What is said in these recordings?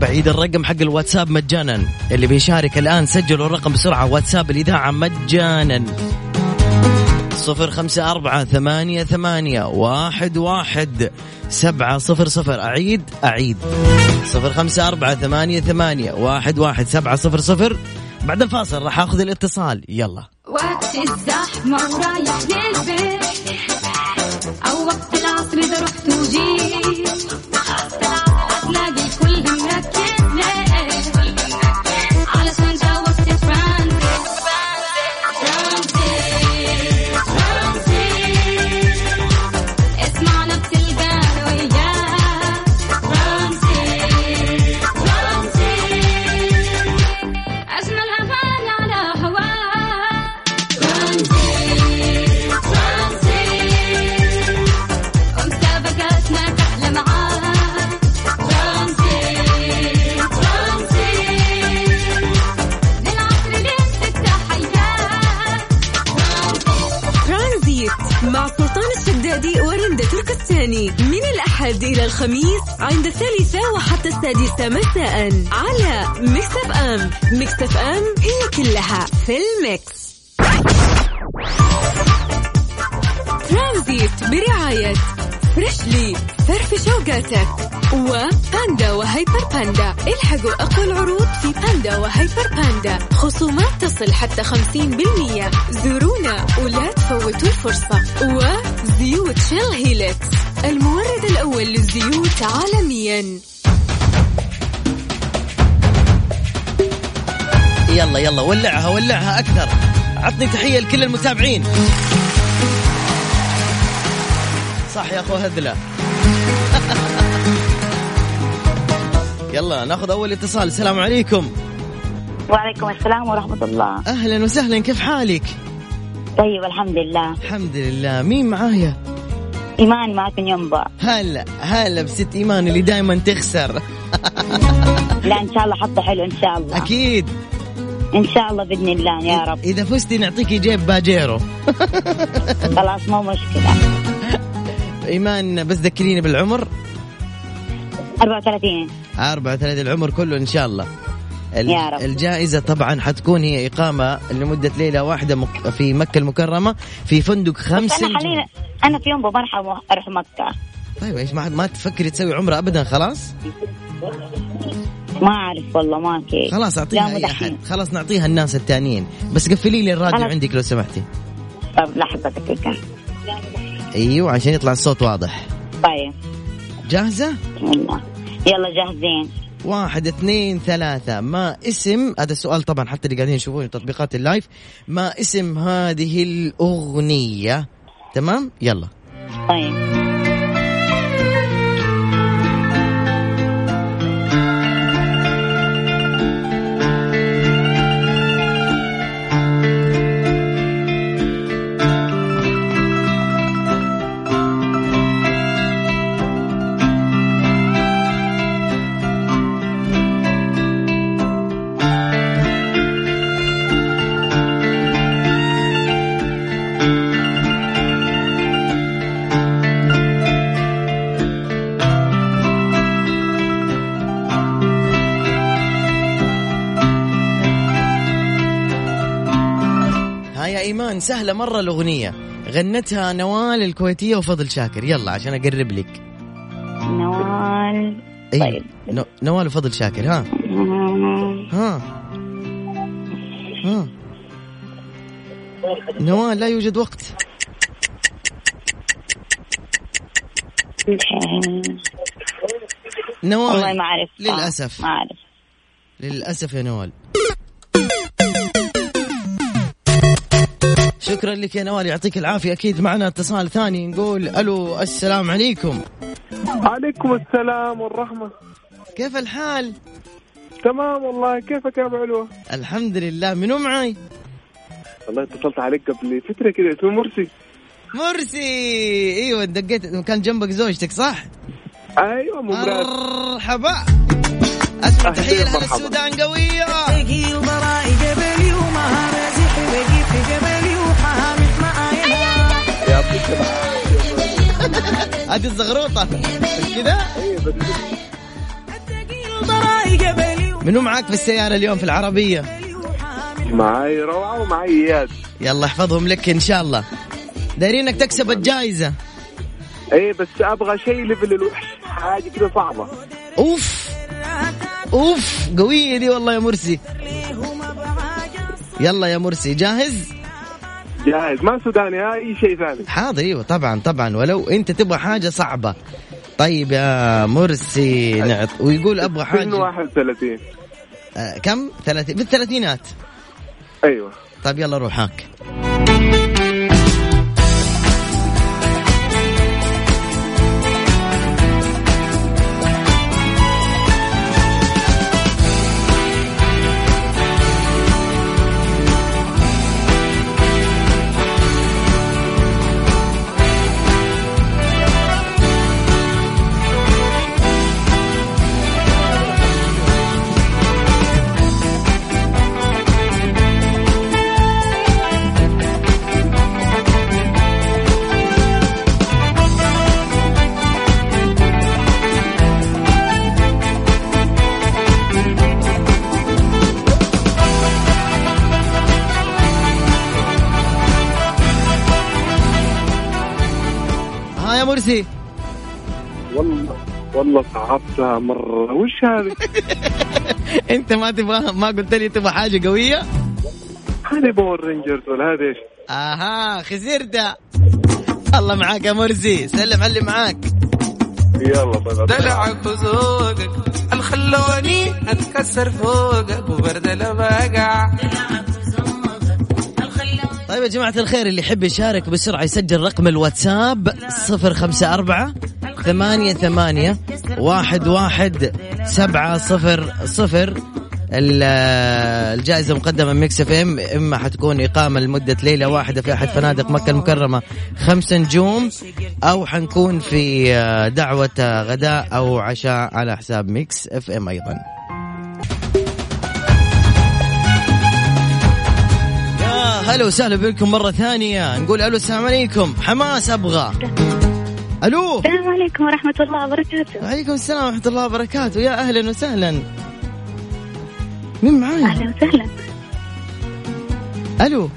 بعيد الرقم حق الواتساب مجانا اللي بيشارك الآن سجلوا الرقم بسرعة واتساب الإذاعة مجانا صفر خمسة أربعة ثمانية ثمانية واحد واحد سبعة صفر صفر أعيد أعيد صفر خمسة أربعة ثمانية ثمانية واحد واحد سبعة صفر صفر بعد الفاصل راح أخذ الاتصال يلا وقت الزحمة ورايح للبيت أو وقت العصر إذا رحت وجيت هتلاقي الكل مركز ليه؟ علشان جاوزت ترانزيت ترانزيت ترانزيت اسمعنا بتلقانا وياك ترانزيت ترانزيت أجمل أغاني على هواك ترانزيت ترانزيت ومسابقاتنا أحلى معاك ترانزيت ترانزيت من عصر للستة حياك ترانزيت مع سلطان الشدادي ورندا تركستاني من الأحد إلى الخميس عند الثالثة وحتى السادسة مساء على ميكس أف أم ميكس أف أم هي كلها في الميكس ترانزيت برعاية فريشلي فرف شوقاتك وباندا وهيبر باندا الحقوا أقوى العروض في باندا وهيبر باندا خصومات تصل حتى 50% زورونا ولا تفوتوا الفرصة وزيوت شيل هيلكس المورد الأول للزيوت عالمياً يلا يلا ولعها ولعها أكثر عطني تحية لكل المتابعين صح يا أخو هذلة يلا ناخذ أول اتصال السلام عليكم وعليكم السلام ورحمة الله أهلا وسهلا كيف حالك طيب الحمد لله الحمد لله مين معايا إيمان معك من ينبع هلا هلا بست إيمان اللي دايما تخسر لا إن شاء الله حطه حلو إن شاء الله أكيد إن شاء الله بإذن الله يا رب إذا فزتي نعطيكي جيب باجيرو خلاص مو مشكلة إيمان بس ذكريني بالعمر 34 34 العمر كله ان شاء الله ال- يا رب. الجائزة طبعا حتكون هي إقامة لمدة ليلة واحدة مك- في مكة المكرمة في فندق خمس بس أنا نجوم. حاليا أنا في ينبع ما راح أروح مكة طيب ايش ما, ما تفكري تسوي عمرة أبدا خلاص ما أعرف والله ما كيف خلاص إيه. لا، أعطيها مو أي دحين. أحد خلاص نعطيها الناس التانيين بس قفلي لي الراديو خلاص. عندك لو سمحتي طب لحظة دقيقة أيوه عشان يطلع الصوت واضح طيب جاهزة يلا يلا جاهزين واحد اثنين ثلاثة ما اسم هذا السؤال طبعا حتى اللي قاعدين يشوفوني تطبيقات اللايف ما اسم هذه الأغنية تمام يلا طيب ها يا ايمان سهله مره الاغنيه غنتها نوال الكويتيه وفضل شاكر يلا عشان اقرب لك نوال أيوة. طيب. نو- نوال وفضل شاكر ها آه، ها ها نوال لا يوجد وقت طيب. نوال والله ما آه. أعرف للأسف. ما أعرف للاسف يا نوال شكرا لك يا نوال يعطيك العافيه اكيد معنا اتصال ثاني نقول الو السلام عليكم عليكم السلام والرحمة كيف الحال تمام والله كيفك يا ابو علوة؟ الحمد لله منو معي والله اتصلت عليك قبل فترة كده اسمه مرسي مرسي ايوه دقيت كان جنبك زوجتك صح؟ ايوه مو مراد مرحبا اسمع أهلاً تحيه لاهل ومرحبا. السودان قويه باقي وضرائي جبلي ومهاراتي حبقي في جبلي وحامد معايا يعطيك العافية هذه الزغروطه كذا إيه، بدي- وطراي جبلي منو معاك في السيارة اليوم في العربية معاي روعه ومعاي اياد يلا احفظهم لك إن شاء الله دايرينك تكسب الجائزة ايه بس ابغى شيء ليفل الوحش حاجه كده صعبه أوف أوف قوية دي والله يا مرسي يلا يا مرسي جاهز؟ جاهز ما سوداني اي شيء ثاني حاضر ايوه طبعا طبعا ولو انت تبغى حاجه صعبه طيب يا مرسي نعط ويقول ابغى سن حاجه 31 آه كم؟ 30 في الثلاثينات ايوه طيب يلا روحك ها يا مرسي والله والله صعبتها مره وش هذه؟ انت ما تبغى ما قلت لي تبغى حاجه قويه هذه باور رينجرز ولا هذه ايش؟ اها خسرت الله معاك يا مرسي سلم على اللي معاك يلا طيب دلعك وذوقك الخلوني اتكسر فوقك وبردل بقع طيب يا جماعة الخير اللي يحب يشارك بسرعة يسجل رقم الواتساب 054 ثمانية ثمانية واحد واحد سبعة صفر صفر ال- الجائزة مقدمة من ميكس اف ام اما حتكون اقامة لمدة ليلة واحدة في احد فنادق مكة المكرمة خمس نجوم او حنكون في آه، دعوة آه، غداء او عشاء على حساب ميكس اف ام ايضا يا آه، هلا وسهلا بكم مرة ثانية نقول الو السلام عليكم حماس ابغى الو السلام عليكم ورحمة الله وبركاته وعليكم السلام ورحمة الله وبركاته يا أهلا وسهلا مين معايا؟ أهلا وسهلا ألو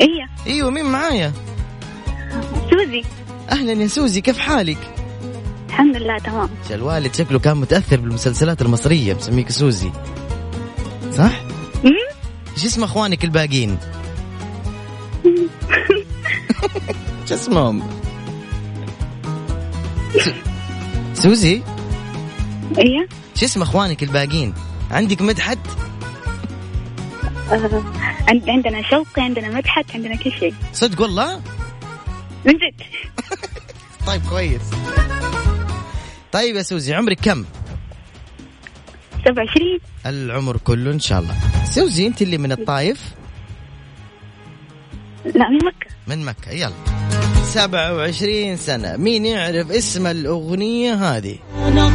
إيه أيوة مين معايا؟ سوزي أهلا يا سوزي كيف حالك؟ الحمد لله تمام الوالد شكله كان متأثر بالمسلسلات المصرية مسميك سوزي صح؟ مم؟ ايش اسم اخوانك الباقين؟ ايش اسمهم؟ سو- سوزي إيه ايش اسم اخوانك الباقين؟ عندك مدحت؟ آه، عند- عندنا شوقي عندنا مدحت عندنا كل شيء صدق والله؟ من جد طيب كويس طيب يا سوزي عمرك كم 27 العمر كله ان شاء الله سوزي انت اللي من الطايف لا من مكة من مكة يلا 27 سنة مين يعرف اسم الأغنية هذه أنا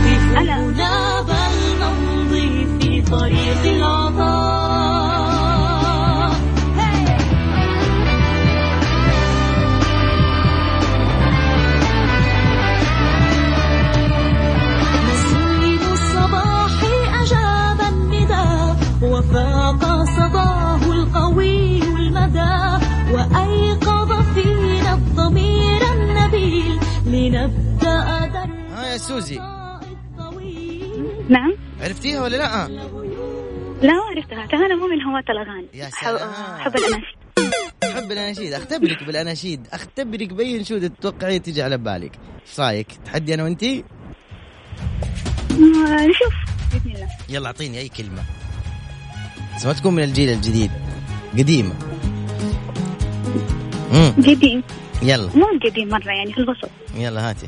مسرور الصباح أجاب النداء وفاق صباه القوي المدى وأيقظ فينا الضمير النبيل لنبدأ درب ها يا سوزي الطويل نعم عرفتيها ولا لا لا ما عرفتها ترى أنا مو من هواة الأغاني يا أحب سلام. أحب الأناشيد أحب الأناشيد أختبرك بالأناشيد أختبرك بأي أنشودة تتوقعي تجي على بالك إيش رايك تحدي أنا وأنتي آه، نشوف بإذن الله يلا أعطيني أي كلمة بس ما تكون من الجيل الجديد قديمة مم. قديم يلا مو قديم مرة يعني في الوسط يلا هاتي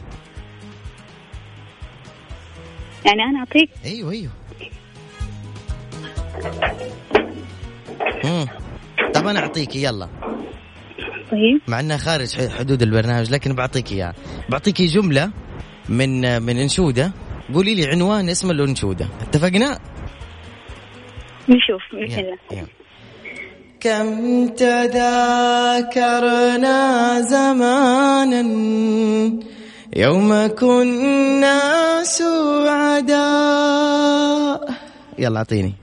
يعني أنا أعطيك ايوه ايوه امم طب انا اعطيك يلا طيب مع انها خارج ح- حدود البرنامج لكن بعطيك اياها بعطيك جمله من من انشوده قولي لي عنوان اسم الانشوده اتفقنا نشوف بإذن يلا، الله يلا. كم تذاكرنا زمانا يوم كنا سعداء يلا اعطيني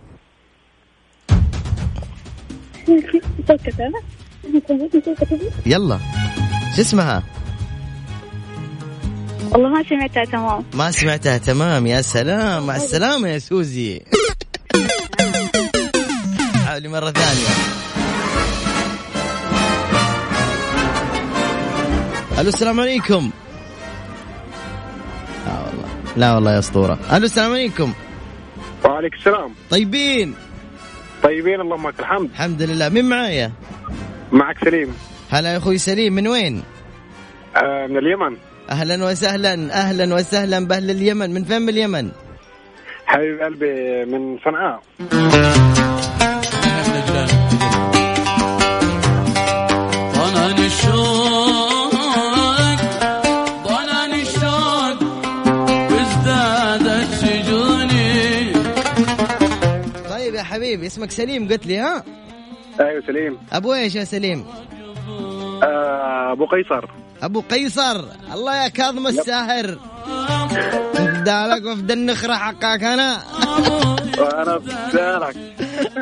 يلا شو اسمها؟ والله ما سمعتها تمام ما سمعتها تمام يا سلام مع السلامة يا سوزي حاولي مرة ثانية ألو السلام عليكم لا والله لا والله يا أسطورة ألو السلام عليكم وعليك السلام طيبين طيبين اللهم لك الحمد الحمد لله مين معايا معك سليم هلا يا أخوي سليم من وين آه من اليمن أهلا وسهلا أهلا وسهلا بأهل اليمن من فين من اليمن حبيب قلبي من صنعاء ضنان الشوق ضنان الشوق وازدادت شجوني طيب يا حبيبي اسمك سليم قلت لي ها ايوه سليم أبو إيش يا سليم آه ابو قيصر ابو قيصر الله يا كاظم الساهر دالك وفد النخرة حقك انا وانا بسالك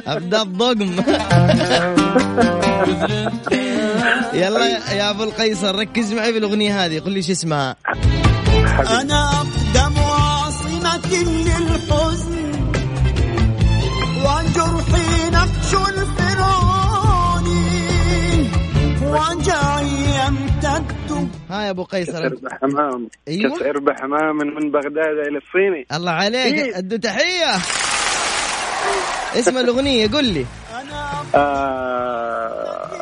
ابدا الضقم يلا يا- يا ابو القيصر ركز معي في الاغنية هذه قل لي شو اسمها أنا أقدم عاصمة للحزن وجرحي نقش الفرعوني وجعي يمتد ها يا ابو قيصر كسر حمام أيوة. كسر بحمام من بغداد الى الصيني الله إيه. عليك ادو تحية اسم الاغنية قل لي آه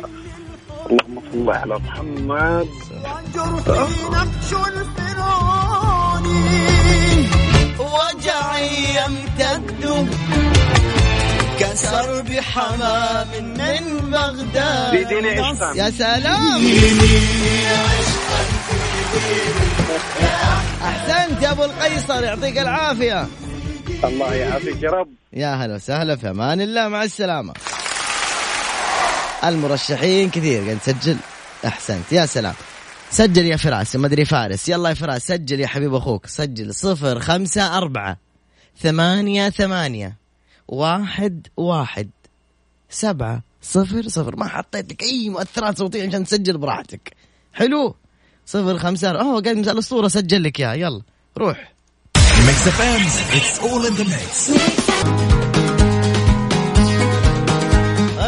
اللهم صل على محمد وجرحي نقش الفرعوني وجعي يمتد كسر بحمام من بغداد دي ديني عشتان يا سلام احسنت يا ابو القيصر يعطيك العافيه الله يعافيك يا رب يا هلا وسهلا في امان الله مع السلامه المرشحين كثير قاعد تسجل احسنت يا سلام سجل يا فراس ما ادري فارس يلا يا فراس سجل يا حبيب اخوك سجل صفر خمسة أربعة ثمانية ثمانية واحد واحد سبعة صفر صفر ما حطيت لك أي مؤثرات صوتية عشان تسجل براحتك حلو صفر خمسة أربعة أوه قاعد مسألة الصورة سجل لك إياها يلا روح Mix FM, it's all in the mix.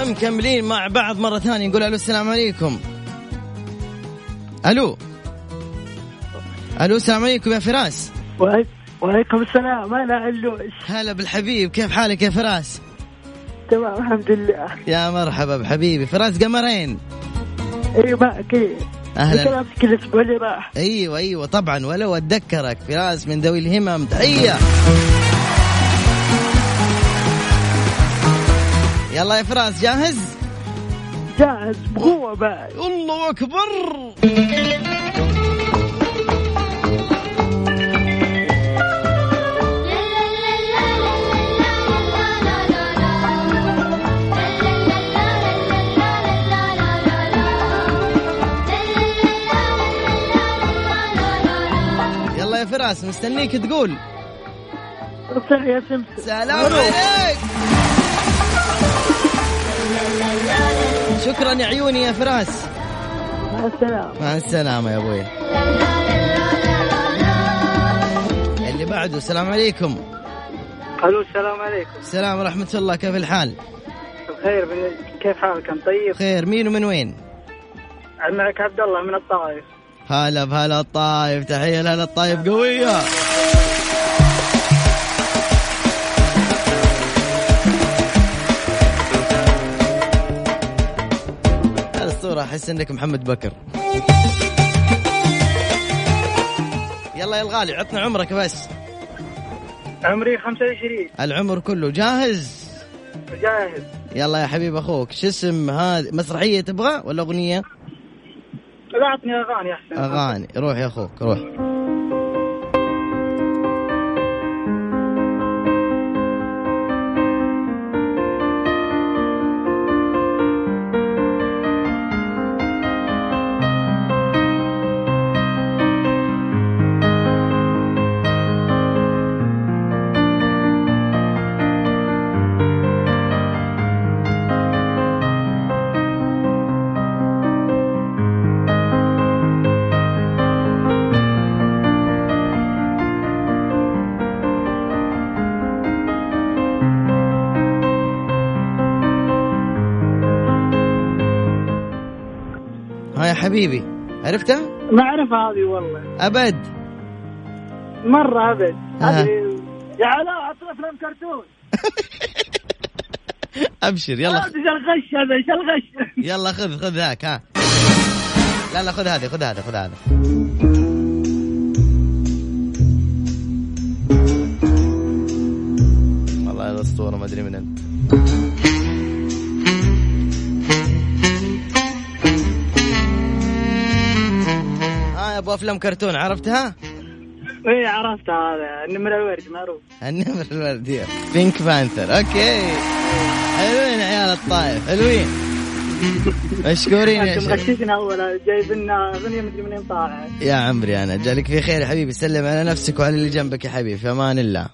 مكملين مع بعض مرة ثانية نقول ألو السلام عليكم ألو ألو السلام عليكم يا فراس وعليكم السلام انا علوش هلا بالحبيب كيف حالك يا فراس تمام الحمد لله يا مرحبا بحبيبي فراس قمرين ايوه ما اكيد أهلا كلامك كل اسبوع اللي راح أيوة أيوة طبعا ولو أتذكرك فراس من ذوي الهمم تحية يلا يا فراس جاهز جاهز بقوه بعد الله أكبر يلا يا فراس مستنيك تقول صح يا سمسم سلام عليك شكرا يا عيوني يا فراس مع السلامه مع السلامة يا أبوي اللي بعده السلام عليكم الو السلام عليكم السلام ورحمة الله كيف الحال بخير بال- كيف حالك انت طيب خير مين ومن وين معك عبد الله من الطائف هلا بهلا الطايف تحية لهلا الطايف قوية الصورة أحس إنك محمد بكر يلا يا الغالي عطنا عمرك بس عمري 25 العمر كله جاهز جاهز يلا يا حبيب اخوك شو اسم هذه مسرحيه تبغى ولا اغنيه لا اعطني اغاني احسن اغاني روح يا اخوك روح حبيبي عرفتها؟ ما اعرفها هذه والله أبد مره ابد آه. هذه يا علاء حطوا افلام كرتون أبشر يلا ايش الغش هذا ايش الغش يلا خذ خذ ذاك ها لا لا خذ هذه خذ هذا خذ هذا والله الأسطورة ما أدري من أنت ها آه، يا أبو أفلام كرتون عرفتها؟ إيه، اي عرفت هذا النمر الورد معروف النمر الوردية بينك بانثر اوكي حلوين عيال الطائف حلوين مشكورين يا انت شيخ مغششنا اول جايب لنا اغنيه مدري منين طالعه يا عمري انا جالك في خير يا حبيبي سلم على نفسك وعلى اللي جنبك يا حبيبي في امان الله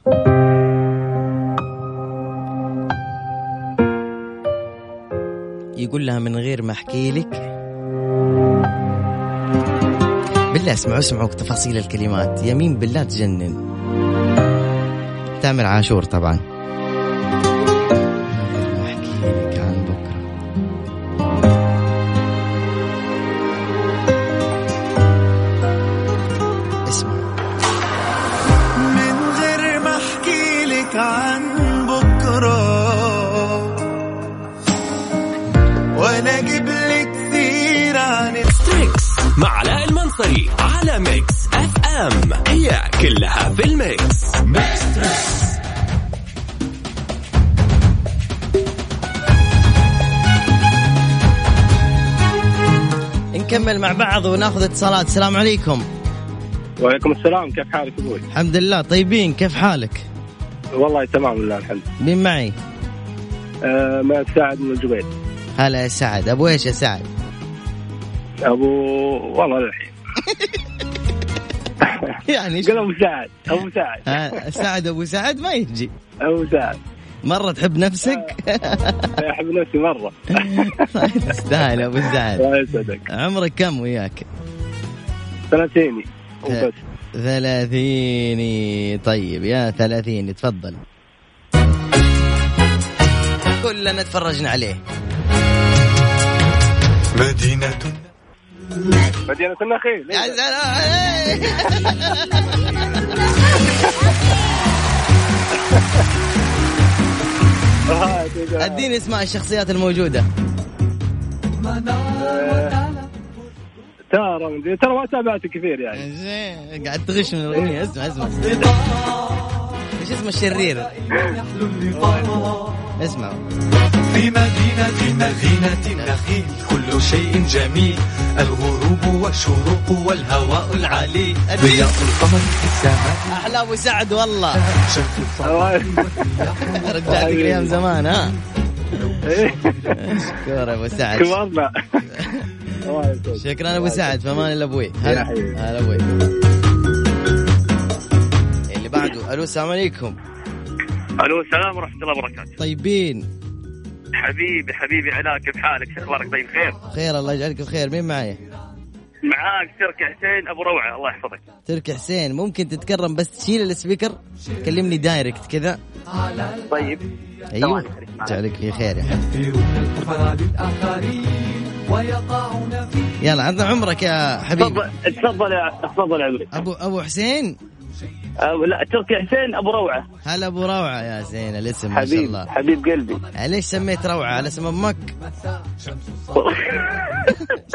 يقول لها من غير ما احكي لك بالله اسمعوا اسمعوا تفاصيل الكلمات يمين بالله تجنن تامر عاشور طبعا احكي لك عن بكره اسمع من غير ما احكي لك عن بكره ولا اجيب لك سيره عن ستريكس مع علاء المنصري على ميكس اف ام هي كلها في الميكس نكمل مع بعض وناخذ اتصالات السلام عليكم وعليكم السلام كيف حالك ابوي؟ الحمد لله طيبين كيف حالك؟ والله تمام لله الحمد مين معي؟ آه ما سعد من الجبيل هلا يا سعد ابو ايش يا سعد؟ ابو والله للحين يعني ايش؟ قل ابو سعد ابو سعد آه، سعد ابو سعد ما يجي ابو سعد مره تحب نفسك؟ احب نفسي مره طيب، تستاهل يا ابو سعد الله يسعدك عمرك كم وياك؟ ثلاثيني وبس ثلاثيني طيب يا ثلاثيني تفضل كلنا تفرجنا عليه مدينة مدينة النخيل يا سلام إيه. آه، تجا- اديني اسماء الشخصيات الموجوده ترى مدري- ترى ما تابعت كثير يعني إيه. زين قاعد تغش من الاغنيه اسمع اسمع ايش اسمه الشرير؟ اسمع في مدينة مدينة النخيل كل شيء جميل الغروب والشروق والهواء العليل ضياء القمر في السماء احلى ابو سعد والله شمس الصباح الله- رجعتك ايام زمان ها شكرا ابو سعد كبرنا الله يسعدك. شكرا ابو سعد فمان الابوي هلا يا حبيبي. هلا ابوي اللي بعده الو السلام عليكم الو السلام ورحمه الله وبركاته طيبين حبيبي حبيبي علاء كيف حالك شو اخبارك طيب خير خير الله يجعلك بخير مين معي معاك ترك حسين ابو روعه الله يحفظك ترك حسين ممكن تتكرم بس تشيل السبيكر كلمني دايركت كذا طيب ايوه جعلك في خير يا حبيبي يلا عطنا عمرك يا حبيبي تفضل تفضل يا تفضل يا عمري ابو ابو حسين أو لا تركي حسين ابو روعه هلا ابو روعه يا زين الاسم ما شاء حبيب الله حبيب قلبي ليش سميت روعه على اسم امك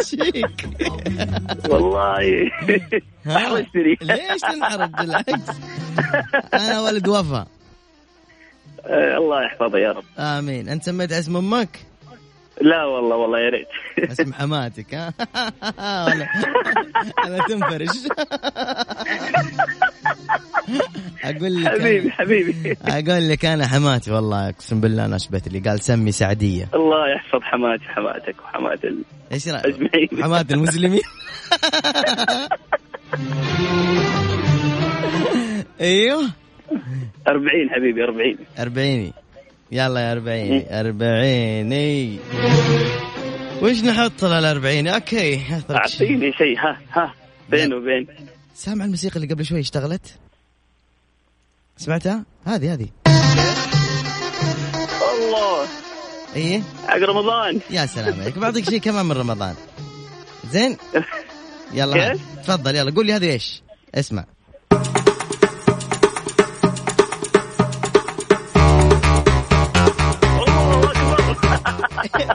شيك والله ها؟ احرجتني ليش تنحرج بالعكس انا ولد وفا آه، الله يحفظه يا رب امين انت سميت اسم امك لا والله والله يا ريت اسم حماتك ها ولا ولا تنفرش اقول لك حبيبي حبيبي اقول لك انا حماتي والله اقسم بالله انا اشبهت اللي قال سمي سعديه الله يحفظ حماتي حماتك وحمات ال- ايش رايك اجمعين حماه المسلمين ايوه 40 حبيبي طيب. 40 أربعيني يلا يا أربعيني أربعيني وش نحط للأربعيني أوكي أترك شيء. اعطيني شيء ها ها بين لا. وبين سامع الموسيقى اللي قبل شوي اشتغلت سمعتها هذه هذه الله ايه حق رمضان إيه؟ يا سلام عليك بعطيك شيء كمان من رمضان زين يلا هات. كيف؟ تفضل يلا قول لي هذه ايش اسمع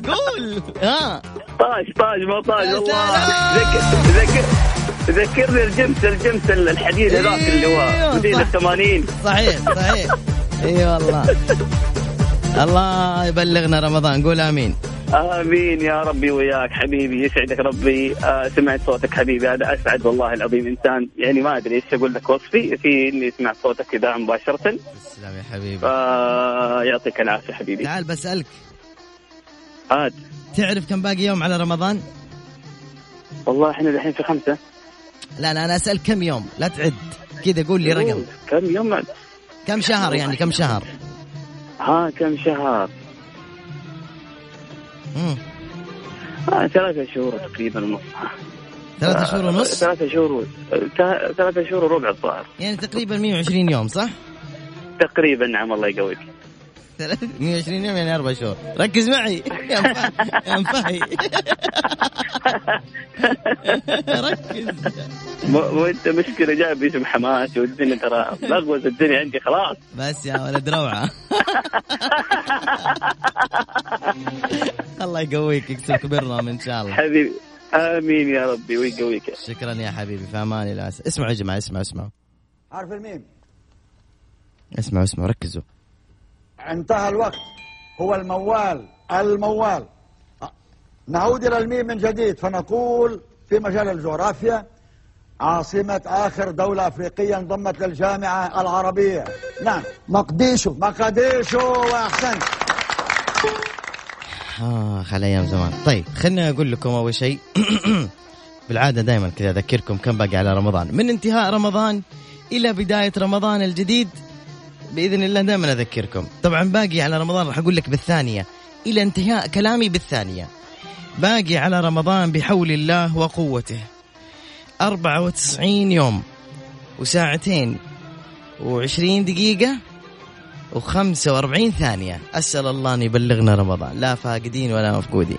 قول آه، ها طاج طاج ما طاج والله ذكر ذكر ذكرني الجمس الجمس الحديد هذاك اللي هو إيوه، مدينة صح. 80 صحيح صحيح اي والله الله يبلغنا رمضان قول امين امين يا ربي وياك حبيبي يسعدك ربي آه سمعت صوتك حبيبي انا اسعد والله العظيم انسان يعني ما ادري ايش اقول لك وصفي في اني سمعت صوتك كذا مباشره تسلم يا حبيبي آه. فيعطيك العافيه حبيبي تعال بسالك عاد تعرف كم باقي يوم على رمضان؟ والله احنا الحين في خمسه لا لا انا اسال كم يوم لا تعد كذا قول لي رقم كم يوم كم شهر يعني كم شهر؟ ها كم شهر؟ مم. آه ثلاثة شهور تقريبا ونص ثلاثة شهور ونص؟ آه، ثلاثة شهور و- آه، ثلاثة شهور وربع الظاهر يعني تقريبا 120 يوم صح؟ تقريبا نعم الله يقويك 120 يوم يعني اربع شهور ركز معي يا مفهي يا مفهي ركز و- وانت مشكلة جايب اسم حماس والدنيا ترى لغوز الدنيا عندي خلاص بس يا ولد روعه الله يقويك يكسبك بالرام ان شاء الله حبيبي امين يا ربي ويقويك شكرا يا حبيبي في امان الله اسمعوا يا جماعه اسمعوا اسمعوا حرف الميم اسمعوا اسمعوا ركزوا انتهى الوقت هو الموال الموال نعود إلى الميم من جديد فنقول في مجال الجغرافيا عاصمة آخر دولة أفريقية انضمت للجامعة آه، العربية نعم مقديشو مقديشو وأحسنت اخ آه، على ايام زمان طيب خليني اقول لكم اول شيء بالعاده دائما كذا اذكركم كم باقي على رمضان من انتهاء رمضان الى بدايه رمضان الجديد باذن الله دائما اذكركم طبعا باقي على رمضان راح اقول لك بالثانيه الى انتهاء كلامي بالثانيه باقي على رمضان بحول الله وقوته 94 يوم وساعتين و20 دقيقه و45 ثانية أسأل الله أن يبلغنا رمضان لا فاقدين ولا مفقودين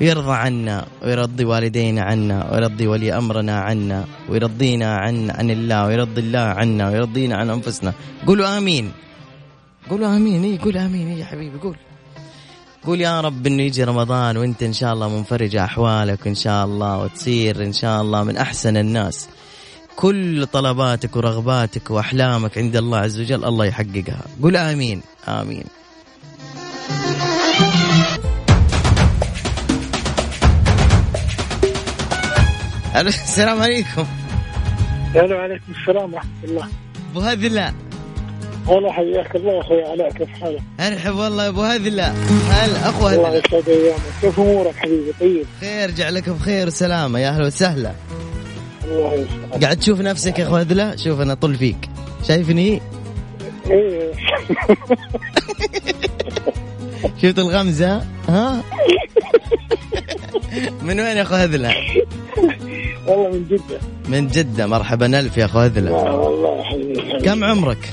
ويرضى عنا ويرضي والدينا عنا ويرضي ولي أمرنا عنا ويرضينا عن عن الله ويرضي الله عنا ويرضينا عن أنفسنا قولوا آمين قولوا آمين إيه قول آمين إيه يا حبيبي قول قول يا رب انه يجي رمضان وانت ان شاء الله منفرج احوالك ان شاء الله وتصير ان شاء الله من احسن الناس كل طلباتك ورغباتك واحلامك عند الله عز وجل الله يحققها قل امين امين ألو، السلام عليكم الو عليكم السلام ورحمه الله ابو هذلا والله حياك الله يا اخوي علاء كيف حالك؟ ارحب والله يا ابو هذلا هلا اخو الله هذلا يسعد ايامك كيف امورك حبيبي طيب؟ خير جعلك بخير وسلامه يا اهلا وسهلا الله يسعدك قاعد تشوف نفسك يا اخو هذلا شوف انا طل فيك شايفني ايه شفت الغمزه ها من وين يا اخو هذلا والله من جده من جده مرحبا الف يا اخو آه هذلا والله يا حبيبي كم عمرك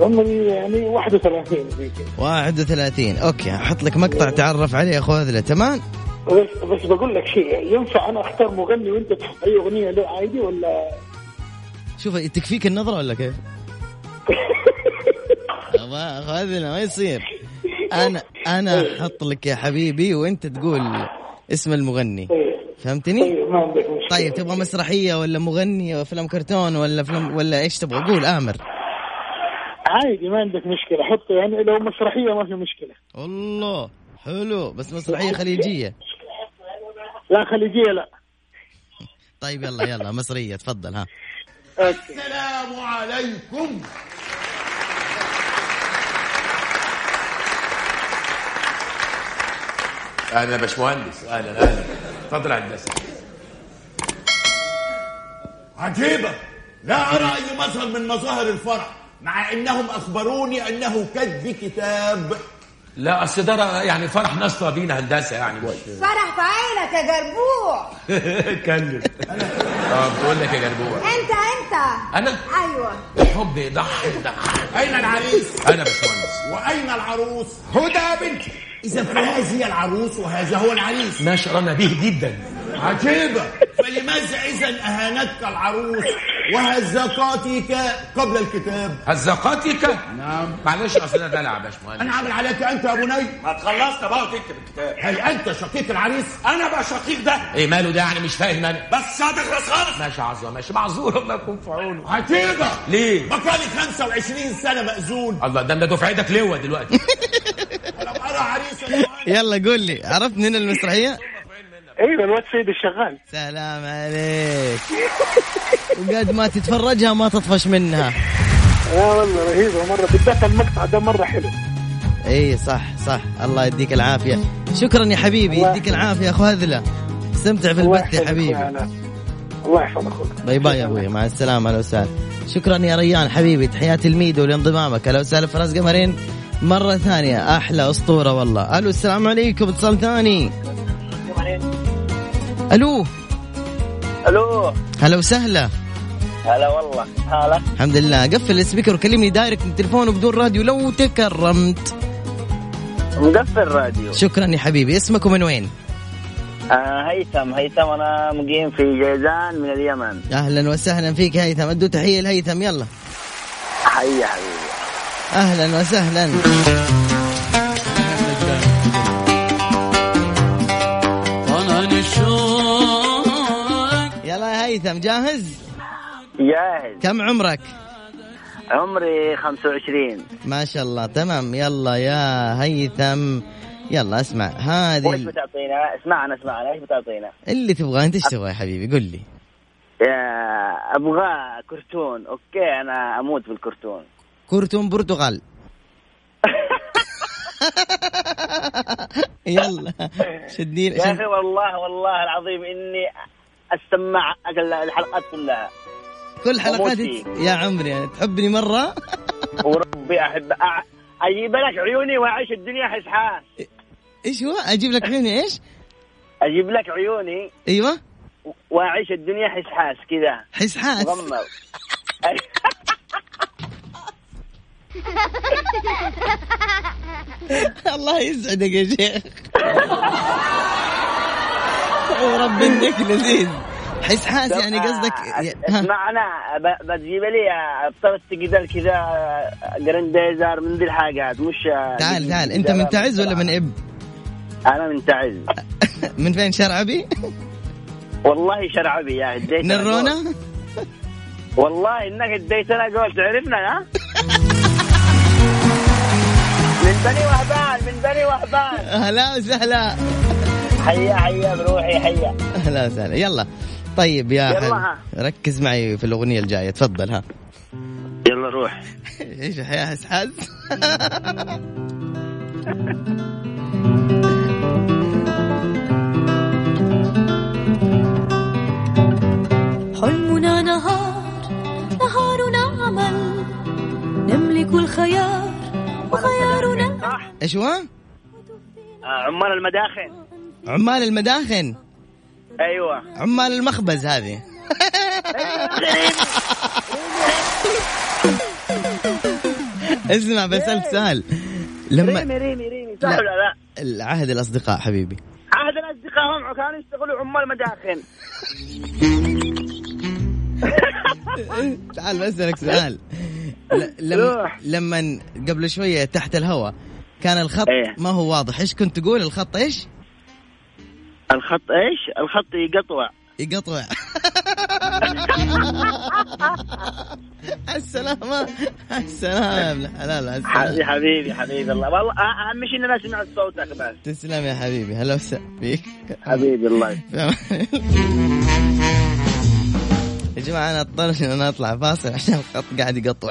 عمري يعني 31 يمكن. 31 اوكي احط لك مقطع تعرف عليه يا اخو هذلا تمام بس بس بقول لك شيء ينفع انا اختار مغني وانت تحط اي اغنيه له عادي ولا شوف تكفيك النظره ولا كيف أبا اخو هذلا ما يصير انا انا احط لك يا حبيبي وانت تقول اسم المغني فهمتني ما عندك مشكله طيب تبغى مسرحيه ولا مغني ولا افلام كرتون ولا افلام ولا ايش تبغى قول امر عادي ما عندك مشكله حطه يعني لو مسرحيه ما في مشكله الله حلو بس مسرحيه خليجيه لا خليجيه لا طيب يلا يلا مصريه تفضل ها السلام عليكم انا باشمهندس اهلا اهلا تفضل هندسه عجيبة لا أرى أي مظهر من مظاهر الفرح مع أنهم أخبروني أنه كتب كتاب لا اصل ده يعني فرح ناس طالبين هندسه يعني فرح في عينك يا جربوع اتكلم اه بقول لك يا جربوع انت انت انا ايوه الحب يضحك يضحك أين العريس انا باشمهندس وأين العروس هدى بنتي إذا فهذه هي العروس وهذا هو العريس ما شرنا به جدا عجيبة فلماذا إذا أهانتك العروس وهزقاتك قبل الكتاب هزقاتك نعم معلش اصل ده دلع يا باشمهندس أنا عامل عليك أنت يا بني ما تخلصنا بقى وتكتب الكتاب هل أنت شقيق العريس؟ انا بقى شقيق ده ايه ماله ده يعني مش فاهم انا بس هتخلص خالص ماشي عظمه ماشي معذور الله يكون في عونه عجيبة ليه؟ بقالي 25 سنة مأذون الله ده انت دفعتك لوا دلوقتي لو أرى عريس يلا قول لي عرفت منين المسرحيه؟ ايوه الواد سيد الشغال سلام عليك وقد ما تتفرجها ما تطفش منها لا آه، والله رهيبه مره بالذات المقطع ده مره حلو اي صح صح الله يديك العافيه شكرا يا حبيبي الله يديك العافيه يا اخو هذله استمتع الله بالبث يا يحفظك حبيبي علاء. الله يحفظ اخوك باي باي يا ابوي مع السلامه اهلا وسهلا شكرا يا ريان حبيبي تحياتي الميدو لانضمامك اهلا وسهلا فراس قمرين مره ثانيه احلى اسطوره والله الو السلام عليكم اتصال ثاني الو الو هلا وسهلا هلا والله هلا الحمد لله قفل السبيكر وكلمني دايركت من تليفون وبدون راديو لو تكرمت مقفل الراديو شكرا يا حبيبي اسمك ومن وين آه هيثم هيثم انا مقيم في جيزان من اليمن اهلا وسهلا فيك هيثم ادوا تحيه لهيثم يلا حي حبيبي اهلا وسهلا طنن الشوق يلا يا هيثم جاهز جاهز كم عمرك عمري 25 ما شاء الله تمام يلا يا هيثم يلا اسمع وايش هذه بتعطينا؟ اسمعنا اسمعنا ايش بتعطينا؟ اللي تبغاه انت ايش تبغى يا حبيبي قل لي يا ابغى كرتون اوكي انا اموت بالكرتون كرتون برتقال يلا شدين يا اخي والله والله العظيم اني استمع الحلقات كلها كل حلقات أموت فيه. يا عمري تحبني مره وربي احب أع- اجيب لك عيوني واعيش الدنيا حسحاس ايش هو اجيب لك عيوني ايش اجيب لك عيوني ايوه واعيش الدنيا حسحاس كذا حس حاس مغمض الله يسعدك يا شيخ ورب انك لذيذ حس حاس يعني قصدك آه، ها. اسمعنا ب- بتجيب لي ابطال التقدر كذا جرانديزر من ذي الحاجات مش تعال تعال انت من تعز ولا من اب؟ انا من تعز من فين شرعبي؟ إيه، والله شرعبي يا اديت من أنا جول. الرونة؟ والله انك اديت انا جول تعرفنا ها من بني وهبان من بني وهبان هلا وسهلا حيا حيا بروحي حيا هلا وسهلا يلا طيب يا يلا حبيبي ها. ركز معي في الاغنية الجاية تفضل ها يلا روح ايش يا حس حس حلمنا نهار نهارنا عمل نملك الخيار وخيارنا ايش هو؟ آه، عمال المداخن عمال المداخن ايوه عمال المخبز هذه اسمع بسألك سؤال لما ريمي ريمي ريمي صح ولا لا؟ العهد الاصدقاء حبيبي عهد الاصدقاء هم كانوا يشتغلوا عمال مداخن تعال بسألك سؤال ل- لما روح. لما قبل شوية تحت الهواء كان الخط إيه. ما هو واضح ايش كنت تقول الخط ايش الخط ايش؟ الخط يقطوع يقطع السلامة السلامة يا ابن الحلال على السلامة. يا حبيبي حبيبي الله والله أه- اهم شيء ان انا اسمع صوتك بس تسلم يا حبيبي هلا وسهلا فيك حبيبي الله في يسلمك. أمان. يا جماعة أنا اضطر إن أنا أطلع فاصل عشان الخط قاعد يقطع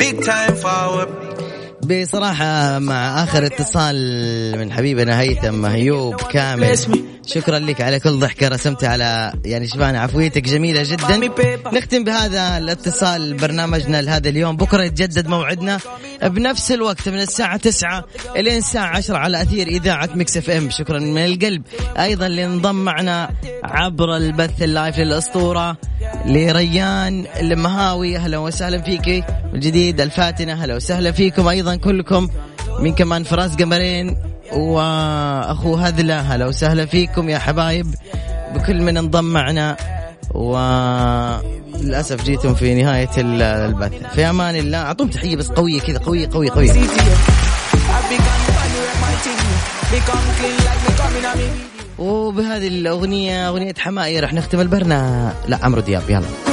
Big time forward. بصراحة مع آخر اتصال من حبيبنا هيثم مهيوب كامل شكرا لك على كل ضحكة رسمت على يعني شبعنا عفويتك جميلة جدا نختم بهذا الاتصال برنامجنا لهذا اليوم بكرة يتجدد موعدنا بنفس الوقت من الساعة 9 إلى الساعة 10 على أثير إذاعة مكس اف ام شكرا من القلب أيضا اللي انضم معنا عبر البث اللايف للأسطورة لريان المهاوي أهلا وسهلا فيك من جديد الفاتنة أهلا وسهلا فيكم أيضا كلكم من كمان فراس قمرين واخو هذلا هلا وسهلا فيكم يا حبايب بكل من انضم معنا وللاسف جيتم في نهايه ال- البث في امان الله اعطوهم تحيه بس قويه كذا قويه قويه قويه وبهذه الاغنيه اغنيه حماية راح نختم البرنامج لا عمرو دياب يلا